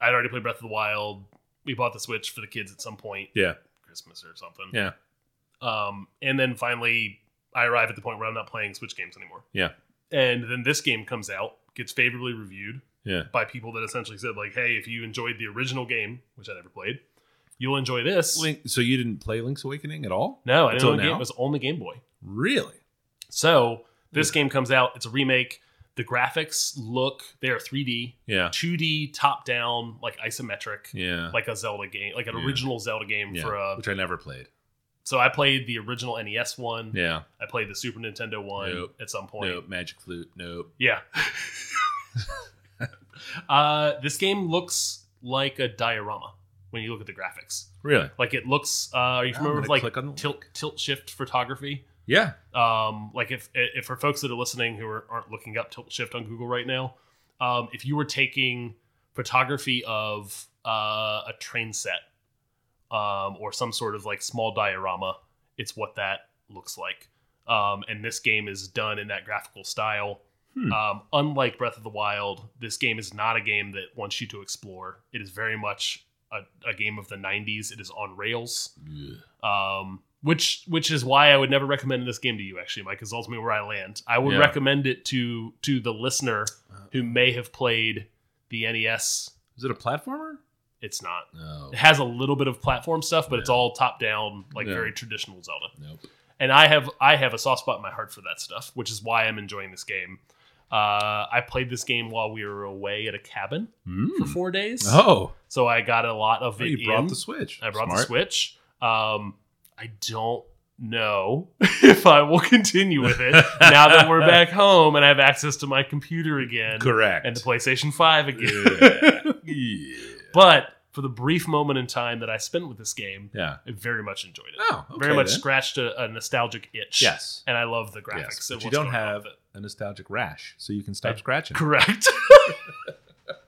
I'd already played Breath of the Wild. We bought the Switch for the kids at some point,
Yeah.
Christmas or something.
Yeah.
Um, and then finally, I arrive at the point where I'm not playing Switch games anymore.
Yeah.
And then this game comes out, gets favorably reviewed
Yeah.
by people that essentially said, like, hey, if you enjoyed the original game, which I never played, you'll enjoy this.
Link, so you didn't play Link's Awakening at all?
No, I didn't
Until
own the game.
now?
It was on the Game Boy.
Really?
So this game comes out. It's a remake. The graphics look, they are 3D,
Yeah.
2D, top down, like isometric,
Yeah.
like a Zelda game, like an
Yeah.
original Zelda game
Yeah.
for uh, a.
which I never played.
So I played the original NES one.
Yeah.
I played the Super Nintendo one
Nope.
at some point.
Nope. Magic Flute. Nope.
Yeah. uh, this game looks like a diorama when you look at the graphics.
Really?
Like it looks. Uh, are you
I'm
familiar
gonna
with like
click on the
tilt tilt shift photography?
Yeah.
Um, like if if for folks that are listening who are, aren't looking up tilt shift on Google right now, um, if you were taking photography of uh, a train set um, or some sort of like small diorama, it's what that looks like. Um, and this game is done in that graphical style.
Hmm.
Um, unlike Breath of the Wild, this game is not a game that wants you to explore. It is very much a, a game of the 90s. It is on rails um, which which is why I would never recommend this game to you. Actually, Mike is ultimately where I land. I would
Yeah.
recommend it to to the listener
Uh,
who may have played the NES.
Is it a platformer?
It's not.
No.
It has a little bit of platform stuff, but it's
Yeah.
all top down, like
Yeah.
very traditional Zelda.
Nope.
And I have I have a soft spot in my heart for that stuff, which is why I'm enjoying this game. Uh, I played this game while we were away at a cabin for four days,
Hmm. Oh,
so I got a lot of it.
you brought
in.
the Switch.
I brought the
Smart.
Switch. Um, I don't know if I will continue with it now that we're back home and I have access to my computer again
Correct.
and the PlayStation 5 again.
yeah.
But for the brief moment in time that I spent with this game,
Yeah.
I very much enjoyed it.
Oh, okay
very much
then.
scratched a, a nostalgic itch.
Yes.
And I love the graphics.
Yes,
and
but you
what's
don't
going on
have
with it.
a nostalgic rash, so you can stop
I-
scratching.
Correct.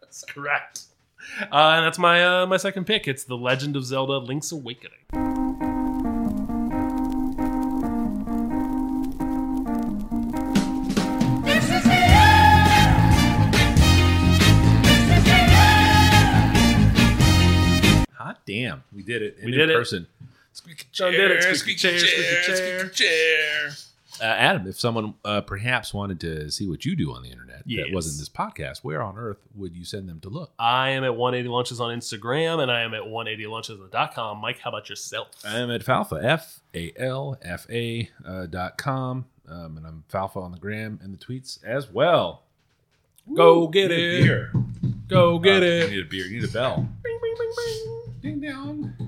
That's correct. Uh, and that's my uh, my second pick. It's The Legend of Zelda: Link's Awakening.
This is the end. This is the end.
Hot damn, we did it.
We did it.
person. Squeaky
John did it. Squeaky chair, squeaky chair.
squeaky chair. Uh, Adam, if someone uh, perhaps wanted to see what you do on the internet
Yes.
that wasn't this podcast, where on earth would you send them to look?
I am at 180 Lunches on Instagram and I am at 180lunches.com. Mike, how about yourself?
I am at Falfa, F A L F A uh, dot com. Um, and I'm Falfa on the gram and the tweets as well.
Go get
Need a
it.
beer.
Go get
Uh,
it.
You need a beer. You need a bell. Ding, ding, ding. Ding, dong.